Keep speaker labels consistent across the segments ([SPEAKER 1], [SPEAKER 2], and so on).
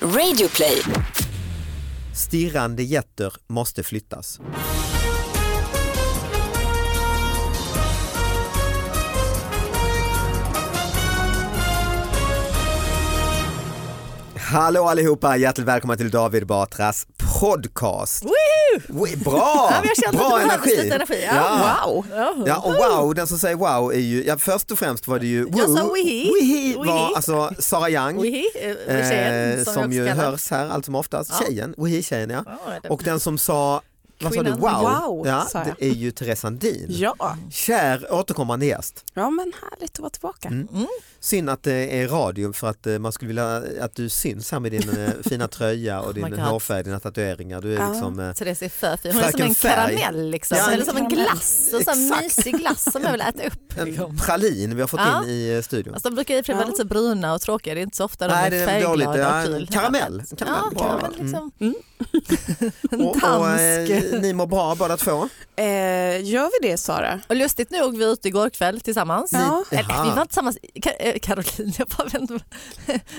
[SPEAKER 1] Radioplay.
[SPEAKER 2] Stirrande getter måste flyttas. Hallå allihopa, hjärtligt välkomna till David Batras podcast.
[SPEAKER 3] Woohoo!
[SPEAKER 2] Oj, Bra!
[SPEAKER 3] Oh. Ja, men jag kände att
[SPEAKER 2] Bra
[SPEAKER 3] det behövdes
[SPEAKER 2] energi.
[SPEAKER 3] lite energi. Ja.
[SPEAKER 2] Wow! Ja, och wow, den som säger wow är ju, ja, först och främst var det ju
[SPEAKER 3] Jag sa
[SPEAKER 2] woo.
[SPEAKER 3] wihi.
[SPEAKER 2] Wihi var
[SPEAKER 3] Wihi.
[SPEAKER 2] alltså Sara Young.
[SPEAKER 3] Wihi, eh, tjejen,
[SPEAKER 2] eh,
[SPEAKER 3] som
[SPEAKER 2] som,
[SPEAKER 3] jag
[SPEAKER 2] ju
[SPEAKER 3] också kallar.
[SPEAKER 2] hörs här allt som oftast, tjejen, wihi tjejen ja.
[SPEAKER 3] Ja, det-
[SPEAKER 2] Och den som sa, vad sa du,
[SPEAKER 3] Kvinnan.
[SPEAKER 2] wow,
[SPEAKER 4] Wow,
[SPEAKER 2] ja,
[SPEAKER 4] sa jag.
[SPEAKER 2] det är ju Therese Sandin.
[SPEAKER 4] Ja.
[SPEAKER 3] Mm.
[SPEAKER 2] Kär återkommande gäst.
[SPEAKER 4] ja, men härligt att vara tillbaka.
[SPEAKER 3] Mm.
[SPEAKER 2] Synd att det är radio för att eh, man skulle vilja att du syns här med din eh, fina tröja och din
[SPEAKER 3] Oh God.
[SPEAKER 2] hårfärg, dina tatueringar. Du är liksom, eh,
[SPEAKER 3] Therese är för fin. Hon är som
[SPEAKER 2] Fröken
[SPEAKER 3] en
[SPEAKER 2] Färg.
[SPEAKER 3] karamell liksom.
[SPEAKER 2] Ja,
[SPEAKER 3] Eller som en
[SPEAKER 4] karamell.
[SPEAKER 3] glass. En sån
[SPEAKER 2] Exakt.
[SPEAKER 3] här mysig glass som jag vill äta upp.
[SPEAKER 2] en pralin vi har fått
[SPEAKER 3] Ja.
[SPEAKER 2] in i eh, studion.
[SPEAKER 3] Alltså, de brukar i och för sig vara
[SPEAKER 4] Ja.
[SPEAKER 3] lite så bruna och tråkiga. Det är inte så ofta de
[SPEAKER 2] Nej, det
[SPEAKER 3] är
[SPEAKER 2] är dåligt.
[SPEAKER 3] färgglada
[SPEAKER 2] Ja,
[SPEAKER 3] och kul.
[SPEAKER 2] karamell. Karamell,
[SPEAKER 3] Ja,
[SPEAKER 2] bra.
[SPEAKER 3] karamell
[SPEAKER 2] Mm.
[SPEAKER 3] liksom.
[SPEAKER 2] Och, och, eh,
[SPEAKER 3] dansk.
[SPEAKER 2] ni mår bra båda två?
[SPEAKER 4] Eh, gör vi det Sara?
[SPEAKER 3] Och lustigt nog, vi var ute igår kväll tillsammans.
[SPEAKER 4] Ja.
[SPEAKER 3] Eller,
[SPEAKER 2] Jaha.
[SPEAKER 3] Äh, vi var inte tillsammans. Ka- eh, Caroline, jag bara vände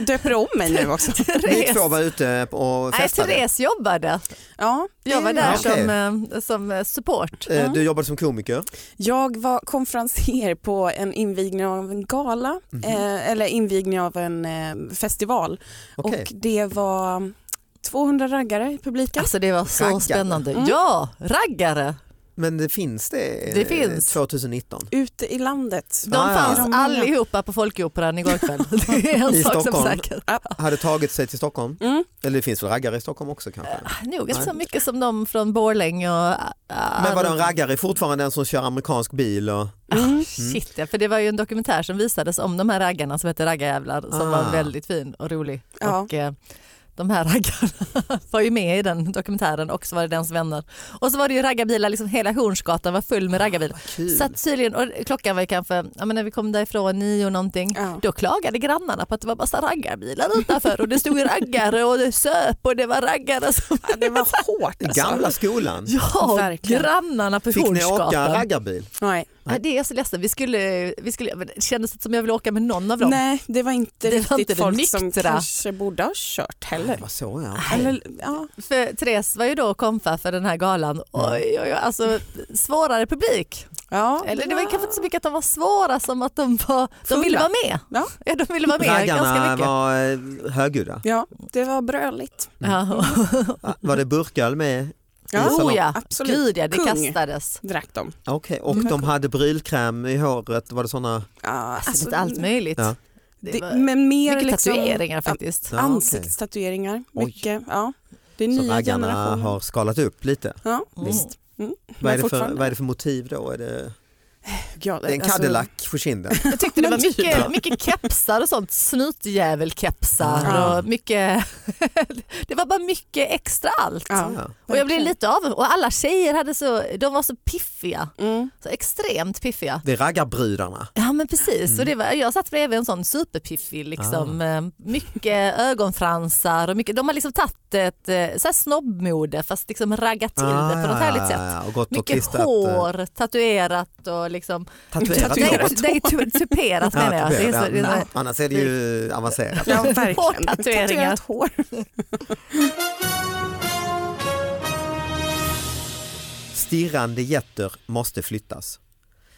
[SPEAKER 4] Döper om mig nu också.
[SPEAKER 2] Ni två
[SPEAKER 3] Therese.
[SPEAKER 2] var ute och
[SPEAKER 3] Nej,
[SPEAKER 2] festade?
[SPEAKER 3] Therese jobbade.
[SPEAKER 4] Ja, det
[SPEAKER 3] Jag var
[SPEAKER 4] är-
[SPEAKER 3] där
[SPEAKER 2] Ja, okej.
[SPEAKER 3] som, eh, som eh, support.
[SPEAKER 2] Eh, Du jobbade som komiker?
[SPEAKER 4] Jag var konferenser på en invigning av en gala,
[SPEAKER 3] Mhm.
[SPEAKER 4] eh, eller invigning av en eh, festival.
[SPEAKER 2] Okej.
[SPEAKER 4] Och det var 200 raggare i publiken.
[SPEAKER 3] Alltså det var så
[SPEAKER 2] Raggare.
[SPEAKER 3] spännande.
[SPEAKER 4] Mm.
[SPEAKER 3] Ja, raggare.
[SPEAKER 2] Men det finns det, eh,
[SPEAKER 3] Det finns.
[SPEAKER 2] 2019?
[SPEAKER 4] Ute i landet.
[SPEAKER 3] De
[SPEAKER 2] Ah, ja.
[SPEAKER 3] fanns
[SPEAKER 4] Är de många?
[SPEAKER 3] allihopa på Folkoperan igår kväll. Det är en
[SPEAKER 2] I
[SPEAKER 3] sak
[SPEAKER 2] Stockholm.
[SPEAKER 3] som är säker.
[SPEAKER 2] Hade tagit sig till Stockholm?
[SPEAKER 4] Mm.
[SPEAKER 2] Eller det finns väl raggare i Stockholm också kanske?
[SPEAKER 3] Ah, Nog inte så
[SPEAKER 2] Nej.
[SPEAKER 3] mycket som de från Borlänge och... ah,
[SPEAKER 2] Men var de
[SPEAKER 3] de-
[SPEAKER 2] raggare är fortfarande den som kör amerikansk bil? Och...
[SPEAKER 3] Ah, Shit ja, för det var ju en dokumentär som visades om de här raggarna som hette Raggarjävlar som
[SPEAKER 2] Ah.
[SPEAKER 3] var väldigt fin och rolig.
[SPEAKER 4] Ja.
[SPEAKER 3] Och, eh, de här raggarna var ju med i den dokumentären och så var det dens vänner. Och så var det ju raggarbilar, liksom hela Hornsgatan var full med raggarbilar.
[SPEAKER 2] Kul.
[SPEAKER 3] Så att tydligen, och klockan var ju kanske, ja men när vi kom därifrån nio någonting,
[SPEAKER 4] Ja.
[SPEAKER 3] då klagade grannarna på att det var massa raggarbilar utanför och det stod raggare och det söp och det var raggare som...
[SPEAKER 4] Ja, Det var hårt alltså.
[SPEAKER 2] Gamla skolan?
[SPEAKER 3] Ja,
[SPEAKER 4] Verkligen.
[SPEAKER 3] grannarna på
[SPEAKER 2] Fick ni åka
[SPEAKER 3] Hornsgatan.
[SPEAKER 2] raggarbil?
[SPEAKER 4] Nej.
[SPEAKER 3] Ja, det är jag så ledsen. Vi skulle, vi skulle, men det kändes som jag ville åka med någon av dem.
[SPEAKER 4] Nej, det var inte
[SPEAKER 3] Det var
[SPEAKER 4] riktigt
[SPEAKER 3] inte det
[SPEAKER 4] folk som
[SPEAKER 3] nyktra.
[SPEAKER 4] kanske borde ha kört heller.
[SPEAKER 2] Vad så ja.
[SPEAKER 4] Eller, ja.
[SPEAKER 3] För Therese var ju då komfa för den här galan. Oj, oj, oj, alltså svårare publik.
[SPEAKER 4] Ja,
[SPEAKER 3] Eller det var kanske inte så mycket att de var svåra som att de var, de
[SPEAKER 4] Fulla.
[SPEAKER 3] ville vara med.
[SPEAKER 4] Ja.
[SPEAKER 3] Ja, de ville vara med ganska
[SPEAKER 2] Raggarna
[SPEAKER 3] mycket.
[SPEAKER 2] var eh, högljudda.
[SPEAKER 4] Ja, det var Mm. bröligt.
[SPEAKER 3] Ja.
[SPEAKER 2] Var det burköl med?
[SPEAKER 4] Ja,
[SPEAKER 2] Salong.
[SPEAKER 3] Oh ja,
[SPEAKER 4] absolut.
[SPEAKER 3] gud ja, det
[SPEAKER 4] Kung.
[SPEAKER 3] kastades.
[SPEAKER 4] drack de.
[SPEAKER 2] Okej, och de hade brylkräm i håret, var det såna?
[SPEAKER 4] Ja,
[SPEAKER 3] Alltså,
[SPEAKER 4] alltså,
[SPEAKER 3] lite allt möjligt.
[SPEAKER 2] Ja.
[SPEAKER 3] Det var
[SPEAKER 4] det, men mer
[SPEAKER 3] mycket
[SPEAKER 4] liksom,
[SPEAKER 3] tatueringar faktiskt.
[SPEAKER 2] Ja, okej.
[SPEAKER 4] Ansiktstatueringar,
[SPEAKER 2] Oj.
[SPEAKER 4] mycket. Ja. Det är
[SPEAKER 2] Så
[SPEAKER 4] nya
[SPEAKER 2] raggarna
[SPEAKER 4] generationer.
[SPEAKER 2] har skalat upp lite.
[SPEAKER 4] Ja,
[SPEAKER 3] Mm.
[SPEAKER 4] visst.
[SPEAKER 2] Vad är, det för,
[SPEAKER 4] fortfarande.
[SPEAKER 2] vad är det för motiv då? Är det,
[SPEAKER 4] Ja,
[SPEAKER 2] det är en
[SPEAKER 4] alltså,
[SPEAKER 2] Cadillac på kinden?
[SPEAKER 3] Jag tyckte det
[SPEAKER 4] Men
[SPEAKER 3] var
[SPEAKER 4] typ.
[SPEAKER 3] mycket, mycket kepsar och sånt, snutjävelkepsar
[SPEAKER 2] Ja.
[SPEAKER 3] och mycket, det var bara mycket extra allt.
[SPEAKER 4] Ja. Mm.
[SPEAKER 2] Ja.
[SPEAKER 3] Och jag blev
[SPEAKER 4] Verkligen.
[SPEAKER 3] lite av och alla tjejer hade så, de var så piffiga,
[SPEAKER 4] Mm.
[SPEAKER 3] så extremt piffiga.
[SPEAKER 2] Det är raggarbrudarna.
[SPEAKER 3] Ja men precis,
[SPEAKER 2] Mm.
[SPEAKER 3] och det var, jag satt bredvid en sån superpiffig
[SPEAKER 2] Ah.
[SPEAKER 3] liksom. Eh, Mycket ögonfransar och mycket, de har liksom tagit ett eh, så här snobbmode fast liksom raggat till det på något härligt sätt.
[SPEAKER 2] Ah, Och gått och
[SPEAKER 3] Mycket
[SPEAKER 2] klistrat, eh,
[SPEAKER 3] hår, tatuerat och liksom...
[SPEAKER 2] Tatuerat
[SPEAKER 3] nej,
[SPEAKER 2] hår.
[SPEAKER 3] nej, tu- tuperat
[SPEAKER 2] Ja,
[SPEAKER 3] menar jag. Det är så,
[SPEAKER 2] tuperat,
[SPEAKER 3] det är
[SPEAKER 2] ja.
[SPEAKER 3] så,
[SPEAKER 2] Annars är det ju avancerat.
[SPEAKER 4] Ja, verkligen.
[SPEAKER 3] Hårtatueringar.
[SPEAKER 4] Tatuerat hår.
[SPEAKER 2] Stirrande getter måste flyttas.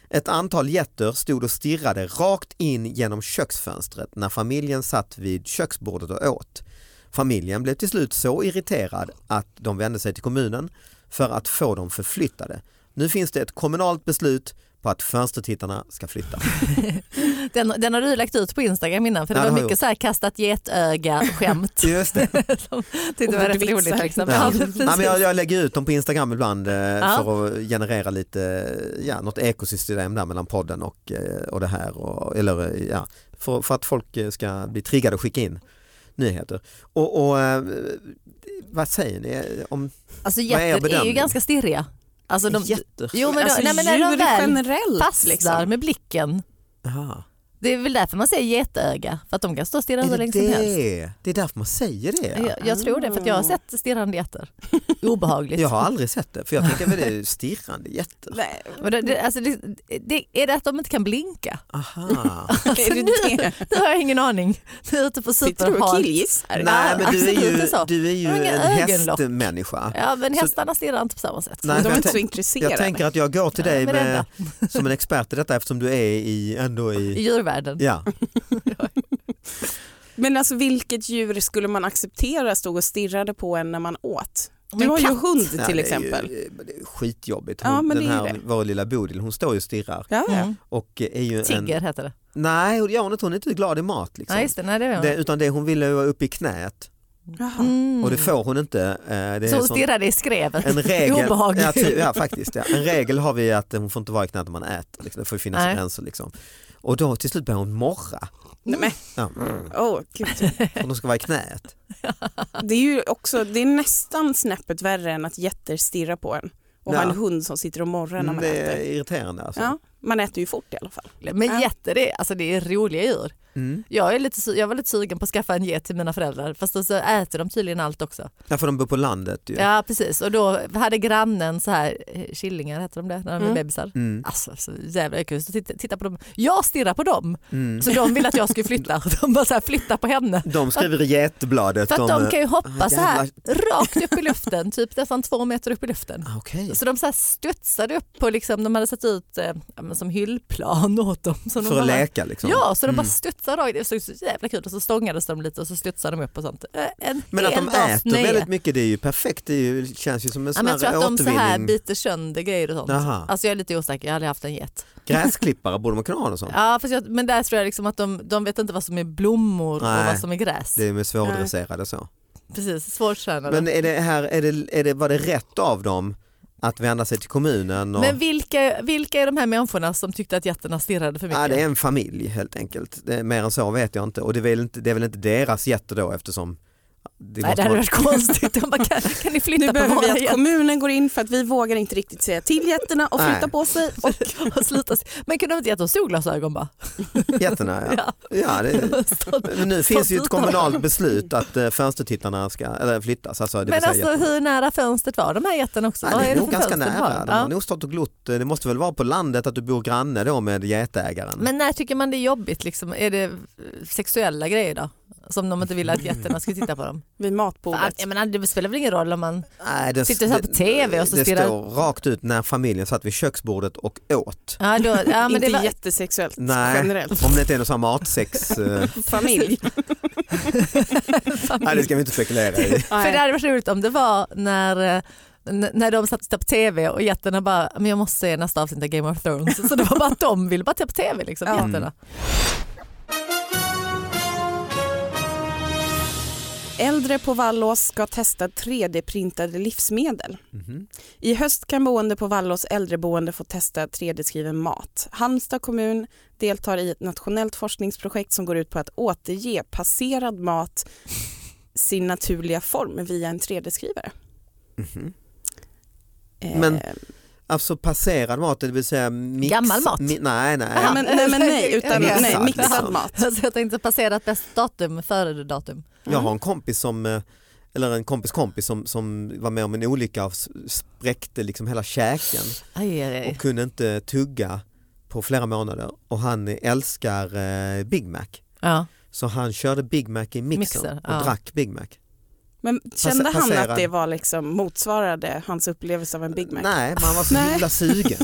[SPEAKER 2] Ett antal getter stod och stirrade rakt in genom köksfönstret när familjen satt vid köksbordet och åt. Familjen blev till slut så irriterad att de vände sig till kommunen för att få dem förflyttade. Nu finns det ett kommunalt beslut på att fönstertittarna ska flytta.
[SPEAKER 3] den, den har du lagt ut på Instagram innan för det
[SPEAKER 2] Ja, det
[SPEAKER 3] var
[SPEAKER 2] har jag
[SPEAKER 3] mycket så här kastat getöga-skämt.
[SPEAKER 2] Just det.
[SPEAKER 3] Tyckte det var rätt
[SPEAKER 4] Ordvitsar.
[SPEAKER 3] roligt. Liksom.
[SPEAKER 2] Ja.
[SPEAKER 3] Ja, precis.
[SPEAKER 2] Nej, men jag, jag lägger ut dem på Instagram ibland eh,
[SPEAKER 3] Ja.
[SPEAKER 2] för att generera lite, ja, något ekosystem där mellan podden och, eh, och det här. Och, eller, eh, ja, för, för att folk eh, ska bli triggade och skicka in nyheter. Och, och eh, vad säger ni? eh, Om
[SPEAKER 3] Alltså
[SPEAKER 2] Vad är
[SPEAKER 3] getter är, ju
[SPEAKER 2] bedömning?
[SPEAKER 3] ganska stirriga. Alltså de,
[SPEAKER 2] getter?
[SPEAKER 3] jo men, då,
[SPEAKER 4] alltså,
[SPEAKER 3] nej, men när de
[SPEAKER 4] djur liksom.
[SPEAKER 3] väl
[SPEAKER 4] generellt.
[SPEAKER 3] fastnar
[SPEAKER 4] Liksom.
[SPEAKER 3] med blicken
[SPEAKER 2] Aha.
[SPEAKER 3] Det är väl därför man säger getöga, för att de kan stå och stirra hur
[SPEAKER 2] är det,
[SPEAKER 3] länge som helst.
[SPEAKER 2] det? det är därför man säger det.
[SPEAKER 3] Jag, jag tror det, för att jag har sett stirrande getter. Obehagligt.
[SPEAKER 2] Jag har aldrig sett det, för jag tänker väl det är stirrande jätter.
[SPEAKER 4] Nej,
[SPEAKER 3] Men det, det, alltså det, det, är det att de inte kan blinka?
[SPEAKER 2] Aha.
[SPEAKER 4] är det det?
[SPEAKER 3] Alltså, Nu har jag ingen aning. Nu är jag ute på
[SPEAKER 4] Sitter du och
[SPEAKER 3] superhal.
[SPEAKER 4] killgissar?
[SPEAKER 2] Nej men du är
[SPEAKER 3] absolut inte
[SPEAKER 2] ju,
[SPEAKER 3] så.
[SPEAKER 2] du är ju
[SPEAKER 3] Jag har inga
[SPEAKER 2] en
[SPEAKER 3] ögonlock.
[SPEAKER 2] hästmänniska.
[SPEAKER 3] Ja, men
[SPEAKER 2] Så-
[SPEAKER 3] hästarna stirrar inte på samma sätt.
[SPEAKER 2] Nej,
[SPEAKER 4] de
[SPEAKER 2] men
[SPEAKER 4] är
[SPEAKER 2] jag
[SPEAKER 4] inte så
[SPEAKER 2] tänk-
[SPEAKER 4] intresserade.
[SPEAKER 2] Jag tänker att jag går till dig
[SPEAKER 3] Nej, men
[SPEAKER 2] med, som en expert i detta eftersom du är i, ändå
[SPEAKER 3] I
[SPEAKER 2] i...
[SPEAKER 3] djurvärlden.
[SPEAKER 2] Ja.
[SPEAKER 4] Men alltså vilket djur skulle man acceptera stod och stirrade på en när man åt? Du
[SPEAKER 3] Men
[SPEAKER 4] har ju
[SPEAKER 3] katt.
[SPEAKER 4] hund
[SPEAKER 2] Nej, det
[SPEAKER 4] till
[SPEAKER 2] är ju-
[SPEAKER 4] exempel.
[SPEAKER 2] det är skitjobbigt. Hon,
[SPEAKER 4] Ja, men
[SPEAKER 2] den
[SPEAKER 4] det är ju
[SPEAKER 2] här,
[SPEAKER 4] det.
[SPEAKER 2] vår lilla Bodil, hon står ju och stirrar.
[SPEAKER 4] Ja, ja.
[SPEAKER 3] Mm.
[SPEAKER 2] Och är ju en,
[SPEAKER 3] Tigger heter det.
[SPEAKER 2] nej, och det gör hon inte, hon är inte glad i mat. Liksom.
[SPEAKER 3] Nej, just det. Nej, det är
[SPEAKER 2] det, utan det hon ville vara uppe i knät
[SPEAKER 4] Jaha.
[SPEAKER 3] Mm.
[SPEAKER 2] och det får hon inte. Eh, Det är
[SPEAKER 3] Så
[SPEAKER 2] en
[SPEAKER 3] hon
[SPEAKER 2] sån-
[SPEAKER 3] stirrade i skrevet.
[SPEAKER 2] en regel,
[SPEAKER 3] Obehagligt.
[SPEAKER 2] ja, typ, ja, faktiskt, ja. en regel har vi att hon får inte vara i knät när man äter. Liksom. Det får ju finnas
[SPEAKER 3] Nej.
[SPEAKER 2] gränser. Liksom. Och då till slut börjar hon morra.
[SPEAKER 4] Nej, men,
[SPEAKER 2] Ja,
[SPEAKER 4] åh, gud.
[SPEAKER 2] för hon ska vara i knät.
[SPEAKER 4] Det är ju också, det är nästan snäppet värre än att getter stirrar på en och
[SPEAKER 2] Ja. Mm,
[SPEAKER 4] ha en hund som sitter och morrar när man
[SPEAKER 2] det är
[SPEAKER 4] äter.
[SPEAKER 2] irriterande alltså.
[SPEAKER 4] Ja, man äter ju fort i alla fall.
[SPEAKER 3] Men
[SPEAKER 4] Ja.
[SPEAKER 3] getter, det, är- alltså, det är roliga djur.
[SPEAKER 2] Mm.
[SPEAKER 3] Jag, är lite, su- jag var lite sugen på att skaffa en get till mina föräldrar fast då så äter de tydligen allt också.
[SPEAKER 2] ja, för de bor på landet ju.
[SPEAKER 3] Ja precis och då hade grannen så här eh, killingar heter de det när de är
[SPEAKER 4] Mm.
[SPEAKER 3] bebisar.
[SPEAKER 2] Mm.
[SPEAKER 3] Alltså så jävla jag kunde stå och titta, titta på dem. Jag stirrar på dem
[SPEAKER 2] Mm.
[SPEAKER 3] så de vill att jag ska flytta. De bara så här flytta på henne.
[SPEAKER 2] De skriver i Getbladet.
[SPEAKER 3] För att de kan ju hoppa
[SPEAKER 2] ah,
[SPEAKER 3] så här rakt upp i luften, typ nästan två meter upp i luften.
[SPEAKER 2] Ah, Okej,
[SPEAKER 3] Så de så här studsade upp på, liksom, de hade satt ut eh, ja, men som hyllplan åt dem. Så de
[SPEAKER 2] för
[SPEAKER 3] bara,
[SPEAKER 2] att leka liksom.
[SPEAKER 3] Ja, så de bara
[SPEAKER 2] Mm.
[SPEAKER 3] studsade rakt, det såg så jävla kul och så stångades de lite och så studsade de upp och sånt. Eh, En
[SPEAKER 2] Men att
[SPEAKER 3] hel
[SPEAKER 2] de
[SPEAKER 3] dags
[SPEAKER 2] äter
[SPEAKER 3] nöje.
[SPEAKER 2] väldigt mycket det är ju perfekt, det är ju, känns ju som en
[SPEAKER 3] Ja,
[SPEAKER 2] sån
[SPEAKER 3] men jag tror
[SPEAKER 2] här
[SPEAKER 3] att de så här
[SPEAKER 2] återvinning.
[SPEAKER 3] biter sönder grejer och sånt.
[SPEAKER 2] Jaha.
[SPEAKER 3] Alltså jag är lite osäker, jag har aldrig haft en get.
[SPEAKER 2] Gräsklippare borde man kunna ha något sånt.
[SPEAKER 3] Ja, fast jag, men där tror jag liksom att de, de vet inte vad som är blommor och
[SPEAKER 2] Nej.
[SPEAKER 3] vad som är gräs.
[SPEAKER 2] Det är med svårdresserade så.
[SPEAKER 3] Precis, svårtränade.
[SPEAKER 2] Men är det här, är det, är det, var det rätt av dem att vända sig till kommunen? Och,
[SPEAKER 3] Men vilka, vilka är de här människorna som tyckte att jätterna stirrade för mycket?
[SPEAKER 2] ja, det är en familj helt enkelt. Det, är- mer än så vet jag inte. Och det är väl inte, det är väl inte deras jätte då eftersom det
[SPEAKER 3] Nej, det
[SPEAKER 2] måste
[SPEAKER 3] hade
[SPEAKER 2] vara-
[SPEAKER 3] varit konstigt. De bara, kan, kan ni
[SPEAKER 4] Nu
[SPEAKER 3] flytta på
[SPEAKER 4] behöver
[SPEAKER 3] våra
[SPEAKER 4] vi att
[SPEAKER 3] get?
[SPEAKER 4] kommunen går in för att vi vågar inte riktigt säga till getterna och
[SPEAKER 2] Nej.
[SPEAKER 4] flytta på sig. Och
[SPEAKER 3] Och sluta. se- Men kunde de inte gett oss solglasögon bara?
[SPEAKER 2] jätterna. Ja.
[SPEAKER 3] Ja.
[SPEAKER 2] Ja, det, men nu finns ju ett kommunalt beslut att eh, fönstertittarna ska eller flyttas. Alltså, det vill
[SPEAKER 3] Men
[SPEAKER 2] säga
[SPEAKER 3] alltså hur nära fönstret var de här jätterna också?
[SPEAKER 2] Nej,
[SPEAKER 3] Vad
[SPEAKER 2] det är
[SPEAKER 3] det
[SPEAKER 2] nog
[SPEAKER 3] för
[SPEAKER 2] ganska
[SPEAKER 3] fönster de har?
[SPEAKER 2] nära. De
[SPEAKER 3] Ja.
[SPEAKER 2] har nog stått och glott. eh, Det måste väl vara på landet att du bor granne då med getägaren.
[SPEAKER 3] Men när tycker man det är jobbigt? Liksom? Är det eh, sexuella grejer då? Som de inte ville att jätterna skulle titta på dem?
[SPEAKER 4] vid
[SPEAKER 3] Fan,
[SPEAKER 4] matbordet.
[SPEAKER 3] Jag menar, det spelar väl ingen roll om man...
[SPEAKER 2] Nej, det,
[SPEAKER 3] Sitter så här på
[SPEAKER 2] det-
[SPEAKER 3] TV och så
[SPEAKER 2] Det
[SPEAKER 3] stirrar-
[SPEAKER 2] står rakt ut när familjen satt vid köksbordet och åt.
[SPEAKER 3] Ja, då, ja, men
[SPEAKER 4] inte
[SPEAKER 3] det var...
[SPEAKER 4] jättesexuellt
[SPEAKER 2] Nej.
[SPEAKER 4] generellt.
[SPEAKER 2] Om det inte är någon sån här matsex. eh,
[SPEAKER 4] Familj.
[SPEAKER 2] Nej, det ska vi inte spekulera i.
[SPEAKER 3] För det hade varit roligt om det var när eh, n- när de satt och tittade på tv och jätterna bara, men jag måste se nästa avsnitt av Game of Thrones. Så det var bara att de ville bara titta på tv, liksom,
[SPEAKER 4] Ja.
[SPEAKER 2] Mm.
[SPEAKER 3] jätterna.
[SPEAKER 4] Äldre på Vallås ska testa 3D-printade livsmedel.
[SPEAKER 2] Mhm.
[SPEAKER 4] I höst kan boende på Vallås äldreboende få testa 3D-skriven mat. Halmstad kommun deltar i ett nationellt forskningsprojekt som går ut på att återge passerad mat sin naturliga form via en 3D-skrivare.
[SPEAKER 2] Mhm.
[SPEAKER 4] Eh,
[SPEAKER 2] Men- Alltså passerad mat, det vill säga mix...
[SPEAKER 3] Gammal mat?
[SPEAKER 2] Mi, nej, nej.
[SPEAKER 4] nej, men, nej, men nej, utan
[SPEAKER 2] Mixad,
[SPEAKER 4] nej, mixad
[SPEAKER 2] liksom.
[SPEAKER 4] mat.
[SPEAKER 3] Så alltså, jag tänkte passerat bäst datum, före datum.
[SPEAKER 2] Jag har en kompis som eh, eller en kompis kompis som, som var med om en olycka och s- spräckte liksom hela käken
[SPEAKER 3] Aj, aj, aj.
[SPEAKER 2] och kunde inte tugga på flera månader och han älskar eh, Big Mac.
[SPEAKER 3] Ja.
[SPEAKER 2] Så han körde Big Mac i mixern
[SPEAKER 3] Mixer,
[SPEAKER 2] och
[SPEAKER 3] ja.
[SPEAKER 2] drack Big Mac.
[SPEAKER 4] Men kände han
[SPEAKER 2] passerad.
[SPEAKER 4] att det var liksom motsvarade hans upplevelse av en Big Mac?
[SPEAKER 2] Nej, man var så
[SPEAKER 4] Nej.
[SPEAKER 2] himla sugen.